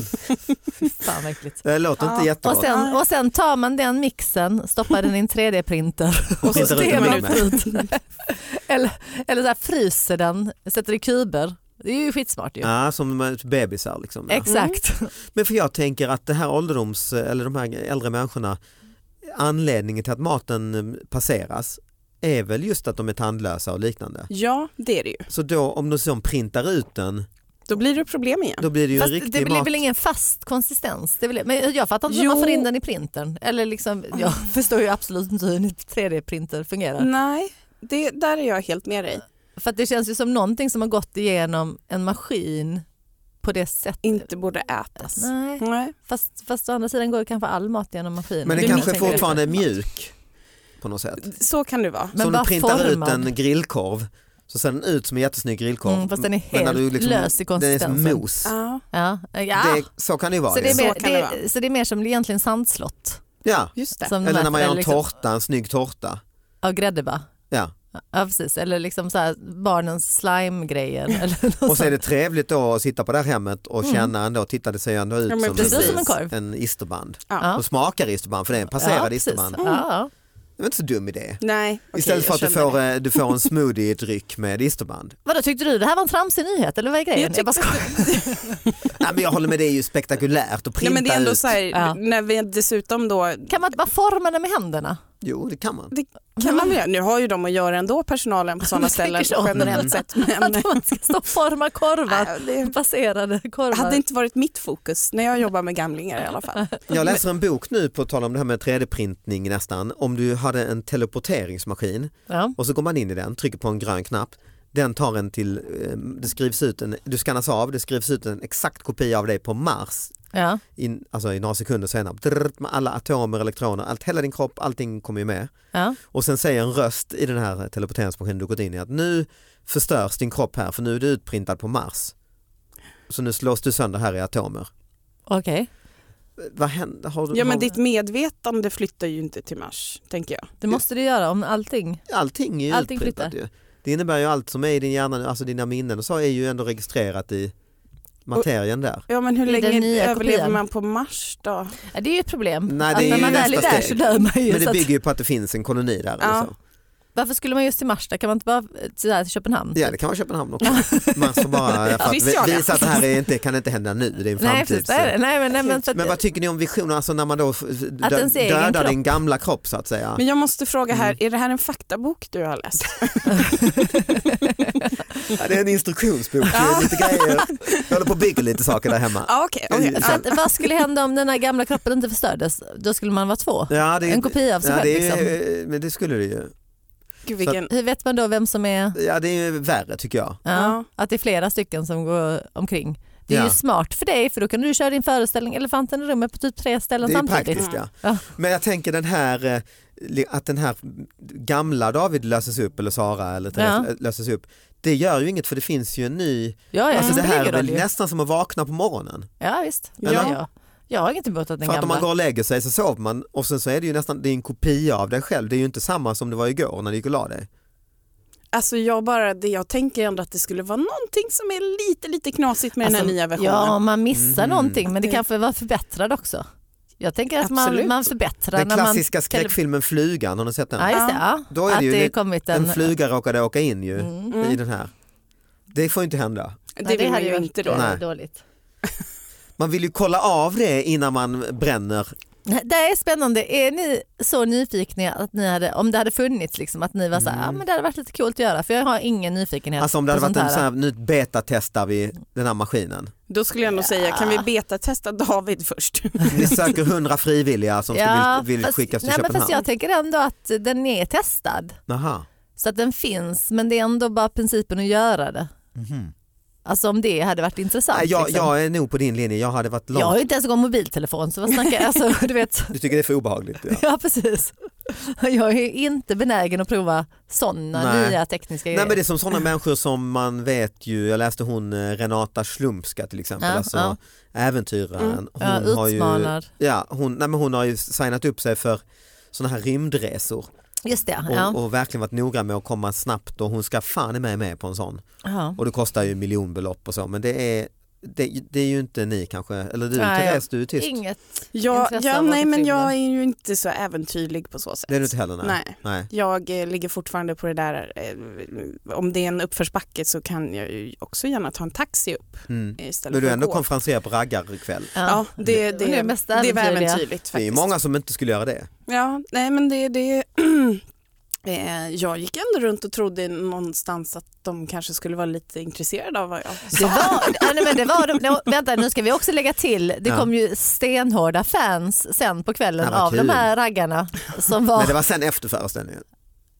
[SPEAKER 3] Fy fan vad äckligt.
[SPEAKER 2] Det låter
[SPEAKER 4] Ja.
[SPEAKER 2] inte
[SPEAKER 3] Och
[SPEAKER 2] jättegott.
[SPEAKER 3] sen, och sen tar man den mixen, stoppar den i en 3D-printer
[SPEAKER 2] Och tittar ut i
[SPEAKER 3] stenar
[SPEAKER 2] Big Mac.
[SPEAKER 3] ut den. eller, eller så här fryser den, sätter i kuber. Det är ju skitsmart ju.
[SPEAKER 2] Ja, som bebisar liksom. Ja.
[SPEAKER 3] Exakt.
[SPEAKER 2] Men för jag tänker att det här ålderdoms eller de här äldre människorna anledningen till att maten eh, passeras är väl just att de är tandlösa och liknande.
[SPEAKER 4] Ja, det är det ju.
[SPEAKER 2] Så då om de som printar ut den
[SPEAKER 4] Då blir det problem igen.
[SPEAKER 2] då blir det ju
[SPEAKER 3] Fast
[SPEAKER 2] en
[SPEAKER 3] det
[SPEAKER 2] riktig
[SPEAKER 3] blir
[SPEAKER 2] mat.
[SPEAKER 3] väl ingen fast konsistens? Det blir, men jag fattar inte hur
[SPEAKER 4] Jo.
[SPEAKER 3] man får in den i printern. Eller liksom, jag förstår ju absolut inte hur en 3D-printer fungerar.
[SPEAKER 4] Nej, det, där är jag helt med dig.
[SPEAKER 3] För att det känns ju som någonting som har gått igenom en maskin på det sättet.
[SPEAKER 4] inte borde ätas.
[SPEAKER 3] Nej,
[SPEAKER 4] Nej.
[SPEAKER 3] fast, fast å andra sidan går ju kanske all mat genom maskinen.
[SPEAKER 2] Men den
[SPEAKER 3] Du
[SPEAKER 2] kanske
[SPEAKER 3] misstänker
[SPEAKER 2] fortfarande är
[SPEAKER 3] det.
[SPEAKER 2] mjuk på något sätt.
[SPEAKER 4] Så kan det vara.
[SPEAKER 3] Men
[SPEAKER 2] så om du
[SPEAKER 3] vad
[SPEAKER 2] printar
[SPEAKER 3] formad?
[SPEAKER 2] ut en grillkorv så ser den ut som en jättesnygg grillkorv.
[SPEAKER 3] Mm, fast den är
[SPEAKER 2] Men när liksom-
[SPEAKER 3] helt lös i konsistensen.
[SPEAKER 2] Den är som mos.
[SPEAKER 4] Ja,
[SPEAKER 3] Ja, ja.
[SPEAKER 2] Det, så kan det ju vara.
[SPEAKER 3] så, det är
[SPEAKER 4] Så
[SPEAKER 3] mer,
[SPEAKER 4] kan det
[SPEAKER 3] det så det är mer som egentligen sandslott.
[SPEAKER 2] ja.
[SPEAKER 4] just det.
[SPEAKER 3] Som de
[SPEAKER 2] Eller när
[SPEAKER 3] äter,
[SPEAKER 2] man gör en
[SPEAKER 3] liksom-
[SPEAKER 2] tårta, en snygg tårta.
[SPEAKER 3] Av grädde va?
[SPEAKER 2] Ja.
[SPEAKER 3] Ja precis, eller liksom så här barnens slime-grejer. eller något
[SPEAKER 2] Och så är
[SPEAKER 3] sånt.
[SPEAKER 2] det trevligt då att sitta på det här hemmet och känna ändå, titta det ser ju ändå ut
[SPEAKER 4] Ja, men
[SPEAKER 2] som,
[SPEAKER 4] precis.
[SPEAKER 3] Mm. Som en korv.
[SPEAKER 2] en isterband.
[SPEAKER 3] Ja.
[SPEAKER 2] Och smakar isterband för det är en
[SPEAKER 3] Ja,
[SPEAKER 2] passerad
[SPEAKER 3] precis.
[SPEAKER 2] isterband.
[SPEAKER 3] Ja, ja.
[SPEAKER 2] Det var inte så dum idé.
[SPEAKER 4] Nej, okej,
[SPEAKER 2] Istället för
[SPEAKER 4] jag
[SPEAKER 2] att du
[SPEAKER 4] kände
[SPEAKER 2] får,
[SPEAKER 4] det.
[SPEAKER 2] eh, du får en smoothiedryck med isterband.
[SPEAKER 3] Vadå tyckte du det här var en tramsig nyhet eller vad är grejen?
[SPEAKER 4] Jag tyckte
[SPEAKER 3] bara skojar.
[SPEAKER 2] Nej, men jag håller med, det är ju spektakulärt att
[SPEAKER 4] Nej,
[SPEAKER 2] printa
[SPEAKER 4] men det är ändå
[SPEAKER 2] ut.
[SPEAKER 4] så här,
[SPEAKER 3] Ja.
[SPEAKER 4] när vi dessutom då
[SPEAKER 3] Kan man inte bara forma det med händerna?
[SPEAKER 2] Jo, det kan man.
[SPEAKER 4] kan man väl göra, nu har ju de att göra ändå personalen på sådana
[SPEAKER 3] Jag
[SPEAKER 4] ställen
[SPEAKER 3] tänker så.
[SPEAKER 4] generellt sett. Men,
[SPEAKER 3] Att man ska stå och forma korvar,
[SPEAKER 4] Nej, det
[SPEAKER 3] baserade korvar.
[SPEAKER 4] hade inte varit mitt fokus när jag jobbar med gamlingar i alla fall.
[SPEAKER 2] Jag läser en bok nu på tal om det här med 3D-printning nästan. Om du hade en teleporteringsmaskin
[SPEAKER 3] Ja.
[SPEAKER 2] och så går man in i den, trycker på en grön knapp. Den tar en till, eh, det skrivs ut en, du skannas av, det skrivs ut en exakt kopia av dig på Mars.
[SPEAKER 3] Ja.
[SPEAKER 2] In, alltså i några sekunder senare, drrrt, med alla atomer, elektroner, allt, hela din kropp, allting kommer ju med.
[SPEAKER 3] Ja.
[SPEAKER 2] Och sen säger en röst i den här teleporteringsmaskinen du gått in i att nu förstörs din kropp här för nu är du utprintad på Mars. Så nu slås du sönder här i atomer.
[SPEAKER 3] Okej,
[SPEAKER 2] Vad händer? Har du,
[SPEAKER 4] Ja men
[SPEAKER 2] har,
[SPEAKER 4] ditt medvetande flyttar ju inte till Mars, tänker jag.
[SPEAKER 3] det måste du göra om allting.
[SPEAKER 2] allting är ju
[SPEAKER 3] Allting
[SPEAKER 2] utprintat ju. Det innebär ju allt som är i din hjärna nu, alltså dina minnen och så är ju ändå registrerat i materien där.
[SPEAKER 4] Ja men hur
[SPEAKER 3] I den
[SPEAKER 4] länge
[SPEAKER 3] nya
[SPEAKER 4] överlever
[SPEAKER 3] kopian.
[SPEAKER 4] man på Mars då?
[SPEAKER 3] Ja, det är ju ett problem.
[SPEAKER 2] Nej,
[SPEAKER 3] att
[SPEAKER 2] det är
[SPEAKER 3] när
[SPEAKER 2] ju
[SPEAKER 3] man väl är
[SPEAKER 2] nästa
[SPEAKER 3] där så
[SPEAKER 2] steg.
[SPEAKER 3] dör man ju.
[SPEAKER 2] Men det
[SPEAKER 3] så att,
[SPEAKER 2] bygger ju på att det finns en koloni där.
[SPEAKER 4] Ja.
[SPEAKER 2] Liksom.
[SPEAKER 3] varför skulle man just till Mars? Där kan man inte bara eh, till, där, till Köpenhamn?
[SPEAKER 2] Ja det kan vara Köpenhamn också. Man får bara för
[SPEAKER 4] Visst gör
[SPEAKER 2] att
[SPEAKER 4] det.
[SPEAKER 2] visa att det här är inte, kan inte hända nu, det är en
[SPEAKER 3] nej,
[SPEAKER 2] framtid.
[SPEAKER 3] precis, det är det. Nej, men, nej, men, för att,
[SPEAKER 2] Men vad tycker ni om visioner, alltså när man då f- dö-
[SPEAKER 3] ens egen
[SPEAKER 2] dödar
[SPEAKER 3] kropp-
[SPEAKER 2] din gamla kropp så att säga?
[SPEAKER 4] Men jag måste fråga här,
[SPEAKER 2] Mm.
[SPEAKER 4] är det här en faktabok du har läst?
[SPEAKER 2] Ja, det är en instruktionsbok, det är lite grejer. Jag håller på och bygger lite saker där hemma.
[SPEAKER 4] Ja okej. okej.
[SPEAKER 2] Mm.
[SPEAKER 3] för att, vad skulle hända om den här gamla kroppen inte förstördes? Då skulle man vara två.
[SPEAKER 2] Ja, det,
[SPEAKER 3] En kopia av sig
[SPEAKER 2] ja,
[SPEAKER 3] själv.
[SPEAKER 2] det,
[SPEAKER 3] Liksom.
[SPEAKER 2] är- Men det skulle det ju.
[SPEAKER 4] Gud, vilken...
[SPEAKER 3] Hur vet man då vem som är...
[SPEAKER 2] Ja det är ju värre tycker jag.
[SPEAKER 3] Ja,
[SPEAKER 4] Ja.
[SPEAKER 3] Att det är flera stycken som går omkring. Det är
[SPEAKER 2] Ja.
[SPEAKER 3] ju smart för dig för då kan du köra din föreställning Elefanten i rummet på typ tre ställen
[SPEAKER 2] Det är ju
[SPEAKER 3] samtidigt.
[SPEAKER 2] praktiskt ja.
[SPEAKER 3] Ja.
[SPEAKER 2] Men jag tänker den här, eh, li- att den här gamla David löses upp eller Sara eller Therese löses upp. Det gör ju inget för det finns ju en ny,
[SPEAKER 3] Ja, ja,
[SPEAKER 2] alltså det
[SPEAKER 3] det
[SPEAKER 2] här är
[SPEAKER 3] ligger
[SPEAKER 2] väl
[SPEAKER 3] väl ju.
[SPEAKER 2] nästan som att vakna på morgonen.
[SPEAKER 3] ja visst.
[SPEAKER 2] Eller?
[SPEAKER 3] Ja, ja. Jag har inget emot att den
[SPEAKER 2] För att om
[SPEAKER 3] gamla...
[SPEAKER 2] man går och lägger sig så sover man och sen så är det ju nästan det är en kopia av dig själv. Det är ju inte samma som det var igår när du gick och la dig.
[SPEAKER 4] Alltså jag bara, det jag tänker ändå att det skulle vara någonting som är lite, lite knasigt med den
[SPEAKER 3] Alltså,
[SPEAKER 4] här nya versionen.
[SPEAKER 3] Ja, man missar
[SPEAKER 2] Mm.
[SPEAKER 3] någonting men det
[SPEAKER 4] Det-
[SPEAKER 3] kanske var förbättrad också. Jag tänker att man,
[SPEAKER 4] Absolut.
[SPEAKER 3] man förbättrar
[SPEAKER 2] Den
[SPEAKER 3] när man...
[SPEAKER 2] klassiska skräckfilmen Flugan, har ni sett den?
[SPEAKER 3] Ja, just det, ja.
[SPEAKER 2] Då är det
[SPEAKER 3] att
[SPEAKER 2] ju
[SPEAKER 3] det
[SPEAKER 2] en-
[SPEAKER 3] kommit en...
[SPEAKER 2] en fluga råkade åka in ju
[SPEAKER 3] Mm.
[SPEAKER 4] Mm.
[SPEAKER 2] i den här. Det får ju inte hända.
[SPEAKER 4] det
[SPEAKER 3] Nej,
[SPEAKER 4] vill man
[SPEAKER 3] hade
[SPEAKER 4] ju
[SPEAKER 3] varit
[SPEAKER 4] inte då.
[SPEAKER 2] Nej.
[SPEAKER 3] dåligt.
[SPEAKER 2] Man vill ju kolla av det innan man bränner.
[SPEAKER 3] Nej, Det är spännande. Är ni så nyfikna att ni hade, om det hade funnits, liksom, att ni var så här,
[SPEAKER 2] Mm.
[SPEAKER 3] ah, men det hade varit lite coolt att göra för jag har ingen nyfikenhet
[SPEAKER 2] Alltså om det
[SPEAKER 3] på
[SPEAKER 2] hade varit
[SPEAKER 3] sånt
[SPEAKER 2] en sån här, nu betatestar vi den här maskinen.
[SPEAKER 4] Då skulle jag nog säga, kan vi betatesta David först?
[SPEAKER 2] Vi söker hundra frivilliga som ska vill, vill
[SPEAKER 3] fast-
[SPEAKER 2] skickas till
[SPEAKER 3] nej, men
[SPEAKER 2] Köpenhamn.
[SPEAKER 3] fast jag tänker ändå att den är testad
[SPEAKER 2] Jaha.
[SPEAKER 3] så att den finns men det är ändå bara principen att göra det. Alltså om det hade varit intressant.
[SPEAKER 2] Mhm. Nej, jag,
[SPEAKER 3] liksom.
[SPEAKER 2] jag är nog på din linje, jag hade varit långt.
[SPEAKER 3] jag har ju inte ens en gång mobiltelefon så vad snackar jag? Alltså, du vet.
[SPEAKER 2] Du tycker det är för obehagligt? Ja.
[SPEAKER 3] Ja precis. Jag är ju inte benägen att prova sådana
[SPEAKER 2] Nej.
[SPEAKER 3] nya tekniska
[SPEAKER 2] Nej
[SPEAKER 3] grejer.
[SPEAKER 2] men det är som sådana människor som man vet ju, jag läste hon eh, Renata Slumska till exempel,
[SPEAKER 3] Ja,
[SPEAKER 2] alltså
[SPEAKER 3] ja. Mm.
[SPEAKER 2] äventyraren. Hon,
[SPEAKER 3] ja,
[SPEAKER 2] har ju,
[SPEAKER 3] utmanad.
[SPEAKER 2] ja, hon, nej, men hon har ju signat upp sig för sådana här rymdresor
[SPEAKER 3] Just det.
[SPEAKER 2] och,
[SPEAKER 3] Ja.
[SPEAKER 2] och verkligen varit noga med att komma snabbt och hon ska fan i mig med på en sån.
[SPEAKER 3] Ja.
[SPEAKER 2] Och det kostar ju miljonbelopp och så men det är, det, det är ju inte ni kanske, eller du
[SPEAKER 3] Nej,
[SPEAKER 2] Therese du är tyst.
[SPEAKER 3] Inget.
[SPEAKER 4] Ja,
[SPEAKER 3] Intresse
[SPEAKER 4] ja
[SPEAKER 3] av att
[SPEAKER 4] nej men
[SPEAKER 3] förtvivla.
[SPEAKER 4] jag är ju inte så äventyrlig på så sätt.
[SPEAKER 2] Det är du inte heller nej.
[SPEAKER 4] Nej. Jag eh, ligger fortfarande på det där, eh, om det är en uppförsbacke så kan jag ju också gärna ta en taxi upp
[SPEAKER 2] Mm.
[SPEAKER 4] istället
[SPEAKER 2] Men du
[SPEAKER 4] för
[SPEAKER 2] är
[SPEAKER 4] att
[SPEAKER 2] ändå
[SPEAKER 4] gå.
[SPEAKER 2] konferenserare på raggarkväll.
[SPEAKER 4] Ja, det, det,
[SPEAKER 3] Och det
[SPEAKER 4] det,
[SPEAKER 3] är mest
[SPEAKER 4] är väl
[SPEAKER 3] äventyrliga.
[SPEAKER 4] äventyrligt
[SPEAKER 2] Det är ju
[SPEAKER 4] faktiskt.
[SPEAKER 2] många som inte skulle göra det.
[SPEAKER 4] Ja, nej men det, det eh, jag gick ändå runt och trodde någonstans att de kanske skulle vara lite intresserade av vad jag
[SPEAKER 3] Det var, ja, nej, men det var de, nej, vänta nu ska vi också lägga till, det
[SPEAKER 2] Ja.
[SPEAKER 3] kom ju stenhårda fans sen på kvällen
[SPEAKER 2] Ja, vad
[SPEAKER 3] av de
[SPEAKER 2] kul.
[SPEAKER 3] här raggarna som var,
[SPEAKER 2] Men det var sen efter föreställningen.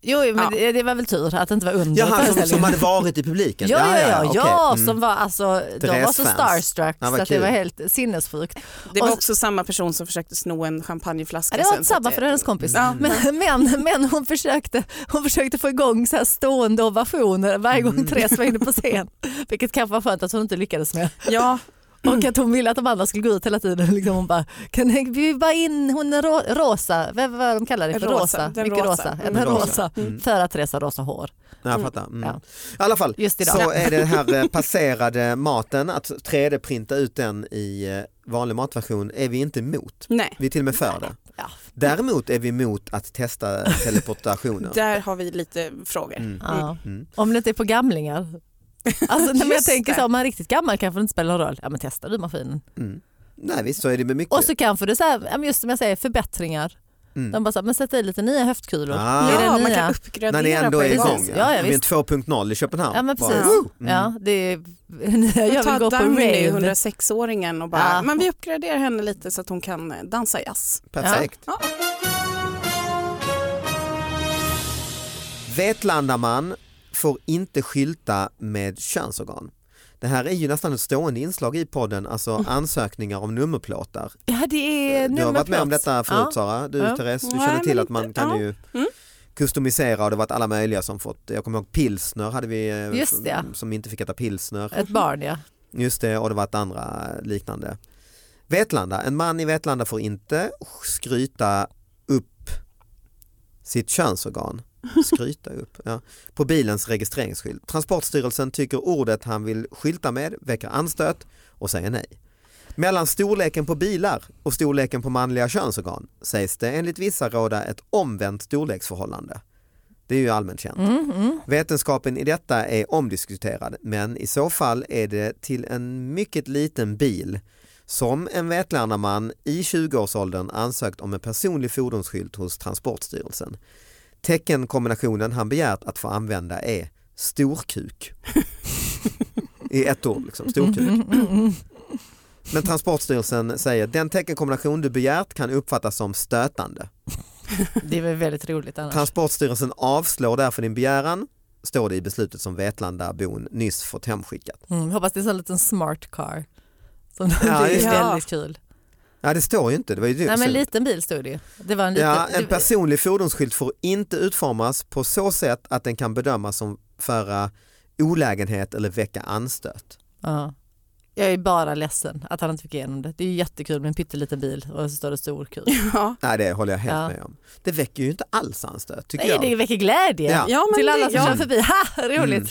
[SPEAKER 3] Jo, men
[SPEAKER 4] Ja.
[SPEAKER 3] det, det var väl tur att det inte var under
[SPEAKER 2] Ja, han som, som
[SPEAKER 3] föreställningen.
[SPEAKER 2] hade varit i publiken.
[SPEAKER 3] Ja, ja, ja, ja,
[SPEAKER 2] okej. Mm.
[SPEAKER 3] som var alltså, de var så
[SPEAKER 2] Therese-fans.
[SPEAKER 3] starstruck
[SPEAKER 2] Ja, vad
[SPEAKER 3] så att det
[SPEAKER 2] kul.
[SPEAKER 3] var helt sinnessjukt.
[SPEAKER 4] Det var
[SPEAKER 3] Och-
[SPEAKER 4] också samma person som försökte sno en champagneflaska.
[SPEAKER 3] Ja, det var
[SPEAKER 4] sen,
[SPEAKER 3] inte
[SPEAKER 4] så att
[SPEAKER 3] samma för hennes kompis.
[SPEAKER 4] Ja.
[SPEAKER 3] Men, men, men hon, försökte, hon försökte få igång så här stående ovationer varje
[SPEAKER 2] Mm.
[SPEAKER 3] gång Therese var inne på scen. Vilket kanske var skönt att hon inte lyckades med.
[SPEAKER 4] Ja,
[SPEAKER 3] Och att hon ville att de andra skulle gå ut hela tiden. Liksom hon bara, kan ni- vi bara in hon är rå, rosa, vad vad de kallar det för?
[SPEAKER 4] Rosa,
[SPEAKER 3] Rosa,
[SPEAKER 4] den
[SPEAKER 3] mycket
[SPEAKER 4] rosa.
[SPEAKER 3] rosa. Ja,
[SPEAKER 4] Mm.
[SPEAKER 3] den
[SPEAKER 2] Rosa.
[SPEAKER 3] rosa.
[SPEAKER 2] Mm.
[SPEAKER 3] För att Therese har rosa hår.
[SPEAKER 2] Ja, jag fattar. Mm.
[SPEAKER 3] Ja.
[SPEAKER 2] I alla fall,
[SPEAKER 3] Just idag.
[SPEAKER 2] så är det den här eh, passerade maten, att 3D-printa ut den i eh, vanlig matversion är vi inte emot.
[SPEAKER 4] nej.
[SPEAKER 2] Vi är till och med för det.
[SPEAKER 3] Ja.
[SPEAKER 2] Däremot är vi emot att testa teleportationer.
[SPEAKER 4] Där har vi lite frågor.
[SPEAKER 2] Mm.
[SPEAKER 3] Ja.
[SPEAKER 2] Mm.
[SPEAKER 3] Om det inte är på gamlingar. Alltså, när jag
[SPEAKER 4] Just
[SPEAKER 3] tänker
[SPEAKER 4] det.
[SPEAKER 3] så, om man är riktigt gammal kanske det inte spelar någon roll. Ja men testa du maskinen.
[SPEAKER 2] Mm. Nej visst så är det med mycket.
[SPEAKER 3] Och så kanske det så här, ja, men just som jag säger, förbättringar.
[SPEAKER 2] Typ. Mm.
[SPEAKER 3] De bara så här, men sätt i lite nya höftkulor.
[SPEAKER 2] Ah.
[SPEAKER 3] Det är det
[SPEAKER 4] Ja, man
[SPEAKER 3] nya.
[SPEAKER 4] kan
[SPEAKER 2] När ni
[SPEAKER 4] uppgradera
[SPEAKER 2] ändå
[SPEAKER 4] på
[SPEAKER 2] är
[SPEAKER 4] det
[SPEAKER 2] igång.
[SPEAKER 4] viset.
[SPEAKER 3] Ja, ja,
[SPEAKER 2] Vi är
[SPEAKER 3] visst.
[SPEAKER 2] 2.0 i Köpenhamnhav.
[SPEAKER 3] Ja, men
[SPEAKER 2] Bara,
[SPEAKER 3] precis.
[SPEAKER 2] woo! Mm.
[SPEAKER 3] Ja, det är, jag vill gå
[SPEAKER 4] Ta
[SPEAKER 3] på
[SPEAKER 4] Dagny,
[SPEAKER 3] rave.
[SPEAKER 4] 106-åringen och bara,
[SPEAKER 3] Ja.
[SPEAKER 4] men vi uppgraderar henne lite så att hon kan eh, dansa jazz.
[SPEAKER 2] Perfekt.
[SPEAKER 4] Ja.
[SPEAKER 2] Vetlandaman får inte skylta med könsorgan. Det här är ju nästan ett stående inslag i podden, alltså
[SPEAKER 3] Mm.
[SPEAKER 2] ansökningar om nummerplåtar.
[SPEAKER 3] Ja, det är
[SPEAKER 2] Du har varit med om
[SPEAKER 3] nummerplåt.
[SPEAKER 2] detta förut
[SPEAKER 3] Eh, Ja.
[SPEAKER 2] Sara, du
[SPEAKER 3] Ja.
[SPEAKER 2] Therese, du
[SPEAKER 4] Nej,
[SPEAKER 2] känner till
[SPEAKER 4] men
[SPEAKER 2] att man
[SPEAKER 4] inte-
[SPEAKER 2] kan
[SPEAKER 4] ja.
[SPEAKER 2] ju
[SPEAKER 4] Mm.
[SPEAKER 2] customisera och det har varit alla möjliga som fått, jag kommer ihåg pilsner hade vi eh,
[SPEAKER 3] Just det.
[SPEAKER 2] som inte fick äta pilsner.
[SPEAKER 3] Ett barn ja.
[SPEAKER 2] Just det, och det varit andra liknande. Vetlanda, en man i Vetlanda får inte skryta upp sitt könsorgan. Skryta upp, ja. På bilens registreringsskylt. Transportstyrelsen tycker ordet han vill skylta med väcker anstöt och säger nej. Mellan storleken på bilar och storleken på manliga könsorgan sägs det enligt vissa råda ett omvänt storleksförhållande. Det är ju allmänt känt. Vetenskapen i detta är omdiskuterad men i så fall är det till en mycket liten bil som en Vetlandaman i 20-årsåldern ansökt om en personlig fordonsskylt hos Transportstyrelsen. Teckenkombinationen han begärt att få använda är storkuk. I ett ord, liksom, storkuk.
[SPEAKER 3] Mm.
[SPEAKER 2] Men Transportstyrelsen säger den teckenkombination du begärt kan uppfattas som stötande.
[SPEAKER 3] Det är väl väldigt roligt annars.
[SPEAKER 2] Transportstyrelsen avslår därför din begäran, står det i beslutet som Vetlandabon nyss fått hemskickat.
[SPEAKER 3] Mm, hoppas det är en sån liten smart car. Som
[SPEAKER 2] Ja,
[SPEAKER 3] det är
[SPEAKER 2] just
[SPEAKER 4] det.
[SPEAKER 3] väldigt kul.
[SPEAKER 2] Ja det står ju inte, det var ju du.
[SPEAKER 3] Nej men en liten bil stod det ju. Det var en liten,
[SPEAKER 2] ja, en
[SPEAKER 3] det-
[SPEAKER 2] personlig fordonsskylt får inte utformas på så sätt att den kan bedömas som föra olägenhet eller väcka anstöt.
[SPEAKER 3] ja. Jag är bara ledsen att han inte fick igenom det. Det är ju jättekul med en pytteliten bil och så står det stor kul.
[SPEAKER 4] Ja.
[SPEAKER 2] Nej det håller jag helt
[SPEAKER 3] Ja.
[SPEAKER 2] med om. Det väcker ju inte alls anstöt tycker
[SPEAKER 3] Nej
[SPEAKER 2] jag.
[SPEAKER 3] det väcker glädje
[SPEAKER 2] Ja. Mm.
[SPEAKER 4] Ja, men
[SPEAKER 3] till alla
[SPEAKER 4] det-
[SPEAKER 3] som
[SPEAKER 4] ja.
[SPEAKER 3] kör förbi. Ha, roligt!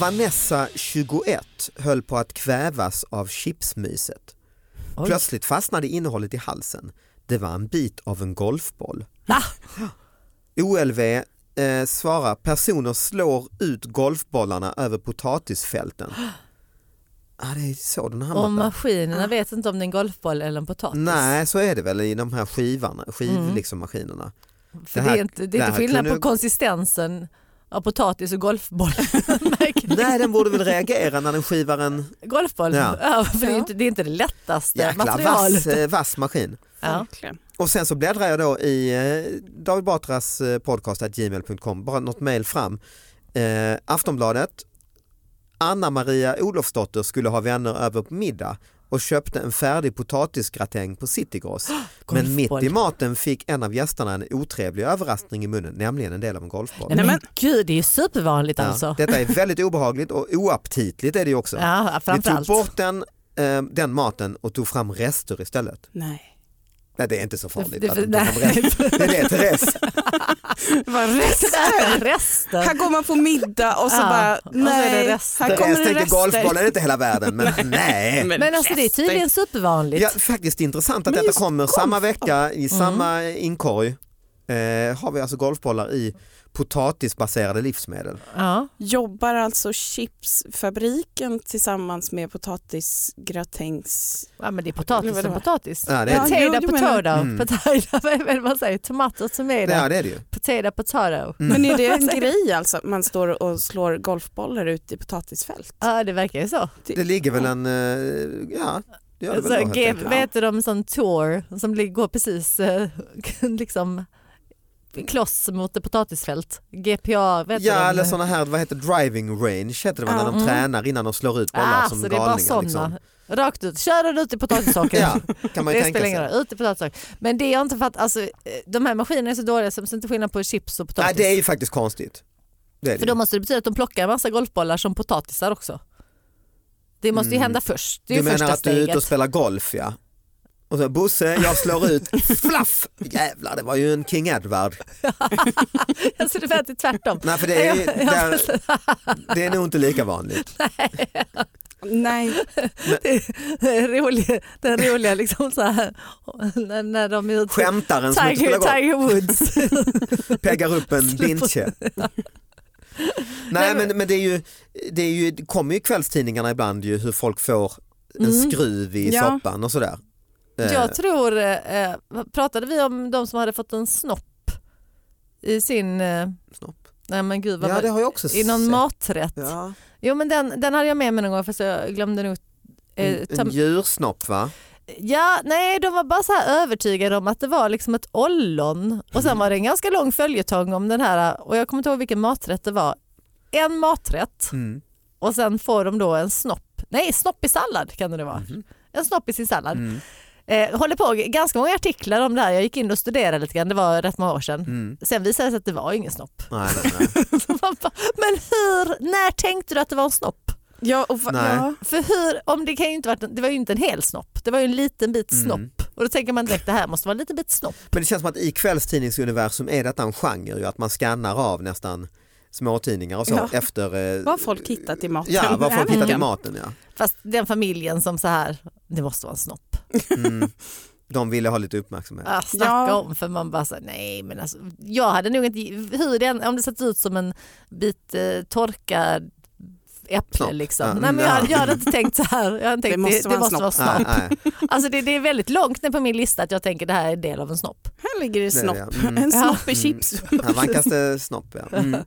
[SPEAKER 2] Vanessa 21 höll på att kvävas av chipsmyset.
[SPEAKER 3] Oj.
[SPEAKER 2] Plötsligt fastnade innehållet i halsen. Det var en bit av en golfboll.
[SPEAKER 3] Ah,
[SPEAKER 2] OLV eh, svarar personer slår ut golfbollarna över potatisfälten. Ah, det är så den hamnar
[SPEAKER 3] och
[SPEAKER 4] Ah.
[SPEAKER 3] maskinerna vet inte om det är en golfboll eller en potatis.
[SPEAKER 2] Nej så är det väl i de här skivarna, skiv,
[SPEAKER 3] Mm.
[SPEAKER 2] liksom, maskinerna.
[SPEAKER 3] För
[SPEAKER 2] Det
[SPEAKER 3] det,
[SPEAKER 2] här-
[SPEAKER 3] är inte, det är
[SPEAKER 2] det
[SPEAKER 3] inte
[SPEAKER 2] här
[SPEAKER 3] skillnad
[SPEAKER 2] kunde-
[SPEAKER 3] på konsistensen av potatis och golfboll. Märker ni?
[SPEAKER 2] Nej den borde väl reagera när den skivar en
[SPEAKER 3] golfboll,
[SPEAKER 2] Ja.
[SPEAKER 3] ja. för det är, ju inte, det är inte det lättaste
[SPEAKER 2] jäkla
[SPEAKER 3] materialet.
[SPEAKER 2] vass, eh, vass maskin.
[SPEAKER 3] Ja.
[SPEAKER 4] Verkligen.
[SPEAKER 2] Och sen så bläddrar jag då i eh, David Batras eh, podcast at gmail.com, bara något mejl fram. Eh, Aftonbladet, Anna-Maria Olofsdotter skulle ha vänner över på middag och köpte en färdig potatisgratäng på Citygross. Men mitt
[SPEAKER 3] golfboll.
[SPEAKER 2] i maten fick en av gästerna en otrevlig överraskning i munnen, nämligen en del av en golfboll.
[SPEAKER 3] Nej, men,
[SPEAKER 4] Nej, men-
[SPEAKER 3] gud, det är ju supervanligt
[SPEAKER 2] Ja,
[SPEAKER 3] alltså.
[SPEAKER 2] detta är väldigt obehagligt och oaptitligt är det ju också.
[SPEAKER 3] Ja,
[SPEAKER 2] Vi tog
[SPEAKER 3] framförallt.
[SPEAKER 2] bort den, eh, den maten och tog fram rester istället.
[SPEAKER 4] Nej.
[SPEAKER 2] Nej alltså, det är inte så farligt.
[SPEAKER 3] Det-
[SPEAKER 2] att
[SPEAKER 3] det-
[SPEAKER 2] de tog fram
[SPEAKER 3] nej.
[SPEAKER 2] rester. Det är det Therese.
[SPEAKER 4] Det var rest.
[SPEAKER 3] Resten.
[SPEAKER 4] Här går man på middag och så
[SPEAKER 3] Ja, och så
[SPEAKER 4] bara,
[SPEAKER 3] är det
[SPEAKER 4] nej,
[SPEAKER 3] rester.
[SPEAKER 4] här
[SPEAKER 2] Therese
[SPEAKER 4] kommer det
[SPEAKER 2] tänker golfboll
[SPEAKER 4] rester.
[SPEAKER 2] är inte hela världen men nej.
[SPEAKER 3] Men alltså det är tydligen supervanligt.
[SPEAKER 2] Ja, faktiskt intressant att
[SPEAKER 4] Men
[SPEAKER 2] detta
[SPEAKER 4] just
[SPEAKER 2] kommer
[SPEAKER 4] golf-
[SPEAKER 2] samma vecka
[SPEAKER 3] Mm.
[SPEAKER 2] i samma inkorg. Eh, har vi alltså golfbollar i potatisbaserade livsmedel.
[SPEAKER 3] Ja.
[SPEAKER 4] Jobbar alltså chipsfabriken tillsammans med potatisgratängs...
[SPEAKER 3] Ja, men det är potatis
[SPEAKER 4] Eller vad det
[SPEAKER 3] som
[SPEAKER 4] var.
[SPEAKER 3] potatis.
[SPEAKER 2] Ja, det är det.
[SPEAKER 4] jo,
[SPEAKER 3] Potato,
[SPEAKER 4] du menar-
[SPEAKER 3] potato,
[SPEAKER 2] Mm.
[SPEAKER 3] potato, vad är det man säger? Tomato, tomato,
[SPEAKER 2] Ja, det är det ju.
[SPEAKER 3] potato, potato.
[SPEAKER 2] Mm.
[SPEAKER 4] Men är det en grej alltså att man står och slår golfbollar ut i potatisfält?
[SPEAKER 3] Ja, det verkar ju så.
[SPEAKER 2] Det ligger väl en, eh, ja, Det gör det väl
[SPEAKER 3] Så
[SPEAKER 2] då, helt
[SPEAKER 3] Alltså, G-
[SPEAKER 2] enkelt.
[SPEAKER 3] vad heter de, sån tour som lig- går precis eh, liksom kloss mot ett potatisfält. GPA, vad heter de?
[SPEAKER 2] Ja eller sådana här, vad heter driving range heter det väl,
[SPEAKER 4] Ja.
[SPEAKER 2] när de
[SPEAKER 3] Mm.
[SPEAKER 2] tränar innan de slår ut bollar
[SPEAKER 3] ah,
[SPEAKER 2] som
[SPEAKER 3] så det är bara
[SPEAKER 2] galningar.
[SPEAKER 3] sådana.
[SPEAKER 2] Liksom.
[SPEAKER 3] Rakt ut, kör den ut i potatissockret.
[SPEAKER 2] Ja, kan man ju
[SPEAKER 3] det
[SPEAKER 2] tänka
[SPEAKER 3] spelar ingen
[SPEAKER 2] sig.
[SPEAKER 3] roll, ut i potatissockret. Men det jag inte fattar, alltså, eh, de här maskinerna är så dåliga så det är inte skillnad på chips och
[SPEAKER 2] Nej
[SPEAKER 3] potatis.
[SPEAKER 2] det är ju faktiskt konstigt. Det är det.
[SPEAKER 3] För
[SPEAKER 2] ju.
[SPEAKER 3] då måste det betyda att de plockar en massa golfbollar som potatisar också. Det måste ju
[SPEAKER 2] Mm.
[SPEAKER 3] hända först, det är
[SPEAKER 2] Du
[SPEAKER 3] ju
[SPEAKER 2] menar
[SPEAKER 3] första
[SPEAKER 2] att du är ute
[SPEAKER 3] steget.
[SPEAKER 2] och spelar golf ja? Och så Bosse, jag slår ut, flaff! Jävlar det var ju en King Edward.
[SPEAKER 3] alltså, det är tvärtom.
[SPEAKER 2] Nej för det är, där, det är nog inte lika vanligt.
[SPEAKER 4] Nej,
[SPEAKER 3] Den roliga, den roliga liksom så här, när, när de är ute.
[SPEAKER 2] Skämtaren som inte
[SPEAKER 3] Tiger,
[SPEAKER 2] spelar golf
[SPEAKER 3] Tiger Woods.
[SPEAKER 2] peggar upp en
[SPEAKER 3] Slår på-
[SPEAKER 2] vinche. Nej
[SPEAKER 3] Nej, men-
[SPEAKER 2] men, men det, är ju, det är ju, det kommer ju i kvällstidningarna ibland ju hur folk får en
[SPEAKER 3] Mm.
[SPEAKER 2] skruv i
[SPEAKER 4] Ja.
[SPEAKER 2] soppan och sådär. Eh,
[SPEAKER 3] Jag tror, eh, vad- pratade vi om de som hade fått en snopp i sin, eh,
[SPEAKER 2] Snopp.
[SPEAKER 3] nej men gud vad
[SPEAKER 2] Ja
[SPEAKER 3] var
[SPEAKER 2] det har jag också
[SPEAKER 3] i någon
[SPEAKER 2] sett.
[SPEAKER 3] maträtt.
[SPEAKER 4] ja.
[SPEAKER 3] Jo men den, den hade jag med mig någon gång fast jag glömde nog eh,
[SPEAKER 2] En,
[SPEAKER 3] ta,
[SPEAKER 2] en djursnopp va?
[SPEAKER 3] Ja, nej de var bara så här övertygade om att det var liksom ett ollon och
[SPEAKER 2] Mm.
[SPEAKER 3] sen var det en ganska lång följetong om den här och jag kommer inte ihåg vilken maträtt det var. En maträtt
[SPEAKER 2] Mm.
[SPEAKER 3] och sen får de då en snopp, nej snopp i sallad kan det nu vara.
[SPEAKER 2] Mhm.
[SPEAKER 3] En snopp i sin sallad.
[SPEAKER 2] Mm.
[SPEAKER 3] Eh, håller på g- ganska många artiklar om det här, jag gick in och studerade lite grann, det var rätt många år sedan.
[SPEAKER 2] Mm.
[SPEAKER 3] Sen visade det sig att det var ingen snopp.
[SPEAKER 2] Nej, nej, nej.
[SPEAKER 3] Man bara, Men hur, när tänkte du att det var en snopp?
[SPEAKER 4] Ja, och va-
[SPEAKER 2] Nej.
[SPEAKER 4] ja.
[SPEAKER 3] För hur, om det, kan ju inte varit, en- det var ju inte en hel snopp, det var ju en liten bit
[SPEAKER 2] Mm.
[SPEAKER 3] snopp. Och då tänker man direkt det här måste vara en liten bit snopp.
[SPEAKER 2] Men det känns som att i kvällstidningsuniversum är detta en genre ju, att man skannar av nästan småtidningar och så
[SPEAKER 4] Ja.
[SPEAKER 2] efter eh,
[SPEAKER 4] vad har folk hittat i maten?
[SPEAKER 2] Ja, vad folk
[SPEAKER 4] den här
[SPEAKER 2] hittat i
[SPEAKER 4] veckan?
[SPEAKER 2] maten ja.
[SPEAKER 3] Fast den familjen som så här, det måste vara en snopp.
[SPEAKER 2] Mm. De ville ha lite uppmärksamhet.
[SPEAKER 3] Ah, snacka
[SPEAKER 4] Ja.
[SPEAKER 3] om för man bara så här, nej men alltså, jag hade nog inte, hur den, om det sett ut som en bit eh, torkad äpple
[SPEAKER 2] Snopp.
[SPEAKER 3] liksom.
[SPEAKER 2] Ja,
[SPEAKER 3] Nej, men
[SPEAKER 2] ja.
[SPEAKER 3] jag, jag hade inte tänkt så här, jag hade tänkt, det måste, det, vara,
[SPEAKER 4] en
[SPEAKER 3] måste vara snopp.
[SPEAKER 2] Nej, nej.
[SPEAKER 3] Alltså det, det är väldigt långt ner på min lista att jag tänker det här är en del av en snopp.
[SPEAKER 4] Här ligger det
[SPEAKER 2] Det är
[SPEAKER 4] snopp.
[SPEAKER 2] det, ja. Mm.
[SPEAKER 4] En
[SPEAKER 3] Ja.
[SPEAKER 4] snopp i chips.
[SPEAKER 2] Här vankas det snopp ja. Mm.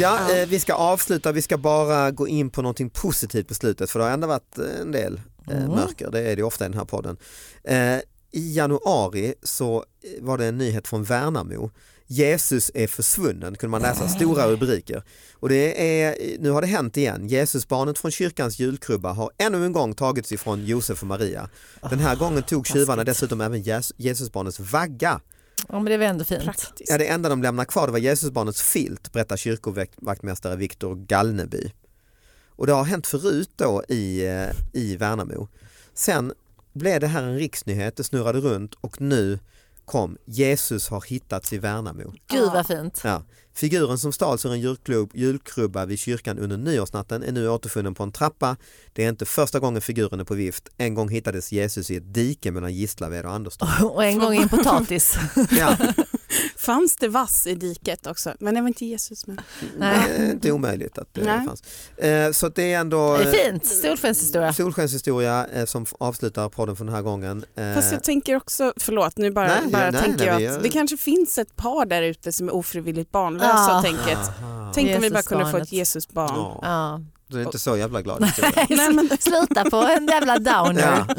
[SPEAKER 2] Ja,
[SPEAKER 4] Ja.
[SPEAKER 2] eh, vi ska avsluta, vi ska bara gå in på någonting positivt på slutet för det har ändå varit eh, en del eh,
[SPEAKER 3] Mm.
[SPEAKER 2] mörker, det är det ju ofta i den här podden. Eh, I januari så eh, var det en nyhet från Värnamo. Jesus är försvunnen kunde man läsa, stora rubriker. Och det är, eh, nu har det hänt igen, Jesusbarnet från kyrkans julkrubba har ännu en gång tagits ifrån Josef och Maria. Den här gången tog tjuvarna dessutom även Jes- Jesusbarnets vagga.
[SPEAKER 3] Ja men det var ändå fint.
[SPEAKER 4] Praktiskt.
[SPEAKER 2] Ja, det enda de lämnade kvar det var Jesusbarnets filt, berättar kyrkovaktmästare Viktor Galneby. Och det har hänt förut då i, eh, i Värnamo. Sen blev det här en riksnyhet, det snurrade runt och nu kom Jesus har hittats i Värnamo.
[SPEAKER 3] Gud vad fint.
[SPEAKER 2] Ja. Figuren som stals ur en julklubb, julkrubba vid kyrkan under nyårsnatten är nu återfunnen på en trappa. Det är inte första gången figuren är på vift. En gång hittades Jesus i ett dike mellan Gislaved och Anderstorp.
[SPEAKER 3] Och en gång i en potatis.
[SPEAKER 2] Ja,
[SPEAKER 4] Fanns det vass i diket också? Men det var inte Jesus med.
[SPEAKER 3] Nej.
[SPEAKER 2] Eh, det är inte omöjligt att det
[SPEAKER 4] Nej.
[SPEAKER 2] fanns. Eh, Så att det är ändå
[SPEAKER 3] Det
[SPEAKER 2] eh,
[SPEAKER 3] är fint, solskenshistoria.
[SPEAKER 2] solskenshistoria eh, som f- avslutar podden för den här gången. Eh,
[SPEAKER 4] Fast jag tänker också, förlåt nu bara,
[SPEAKER 2] Nej,
[SPEAKER 4] bara
[SPEAKER 2] ja, nej,
[SPEAKER 4] tänker
[SPEAKER 2] nej,
[SPEAKER 4] jag
[SPEAKER 2] vi
[SPEAKER 4] att
[SPEAKER 2] gör-
[SPEAKER 4] det kanske finns ett par där ute som är ofrivilligt barnlösa
[SPEAKER 3] Ah.
[SPEAKER 4] tänket.
[SPEAKER 2] aha.
[SPEAKER 4] Tänk om vi bara kunde få
[SPEAKER 3] Jesusbarnet.
[SPEAKER 4] ett Jesusbarn.
[SPEAKER 2] Ja,
[SPEAKER 3] Ja.
[SPEAKER 2] du är inte så jävla glad. historia.
[SPEAKER 4] Nej, men-
[SPEAKER 3] Sluta på en jävla downer.
[SPEAKER 2] Ja.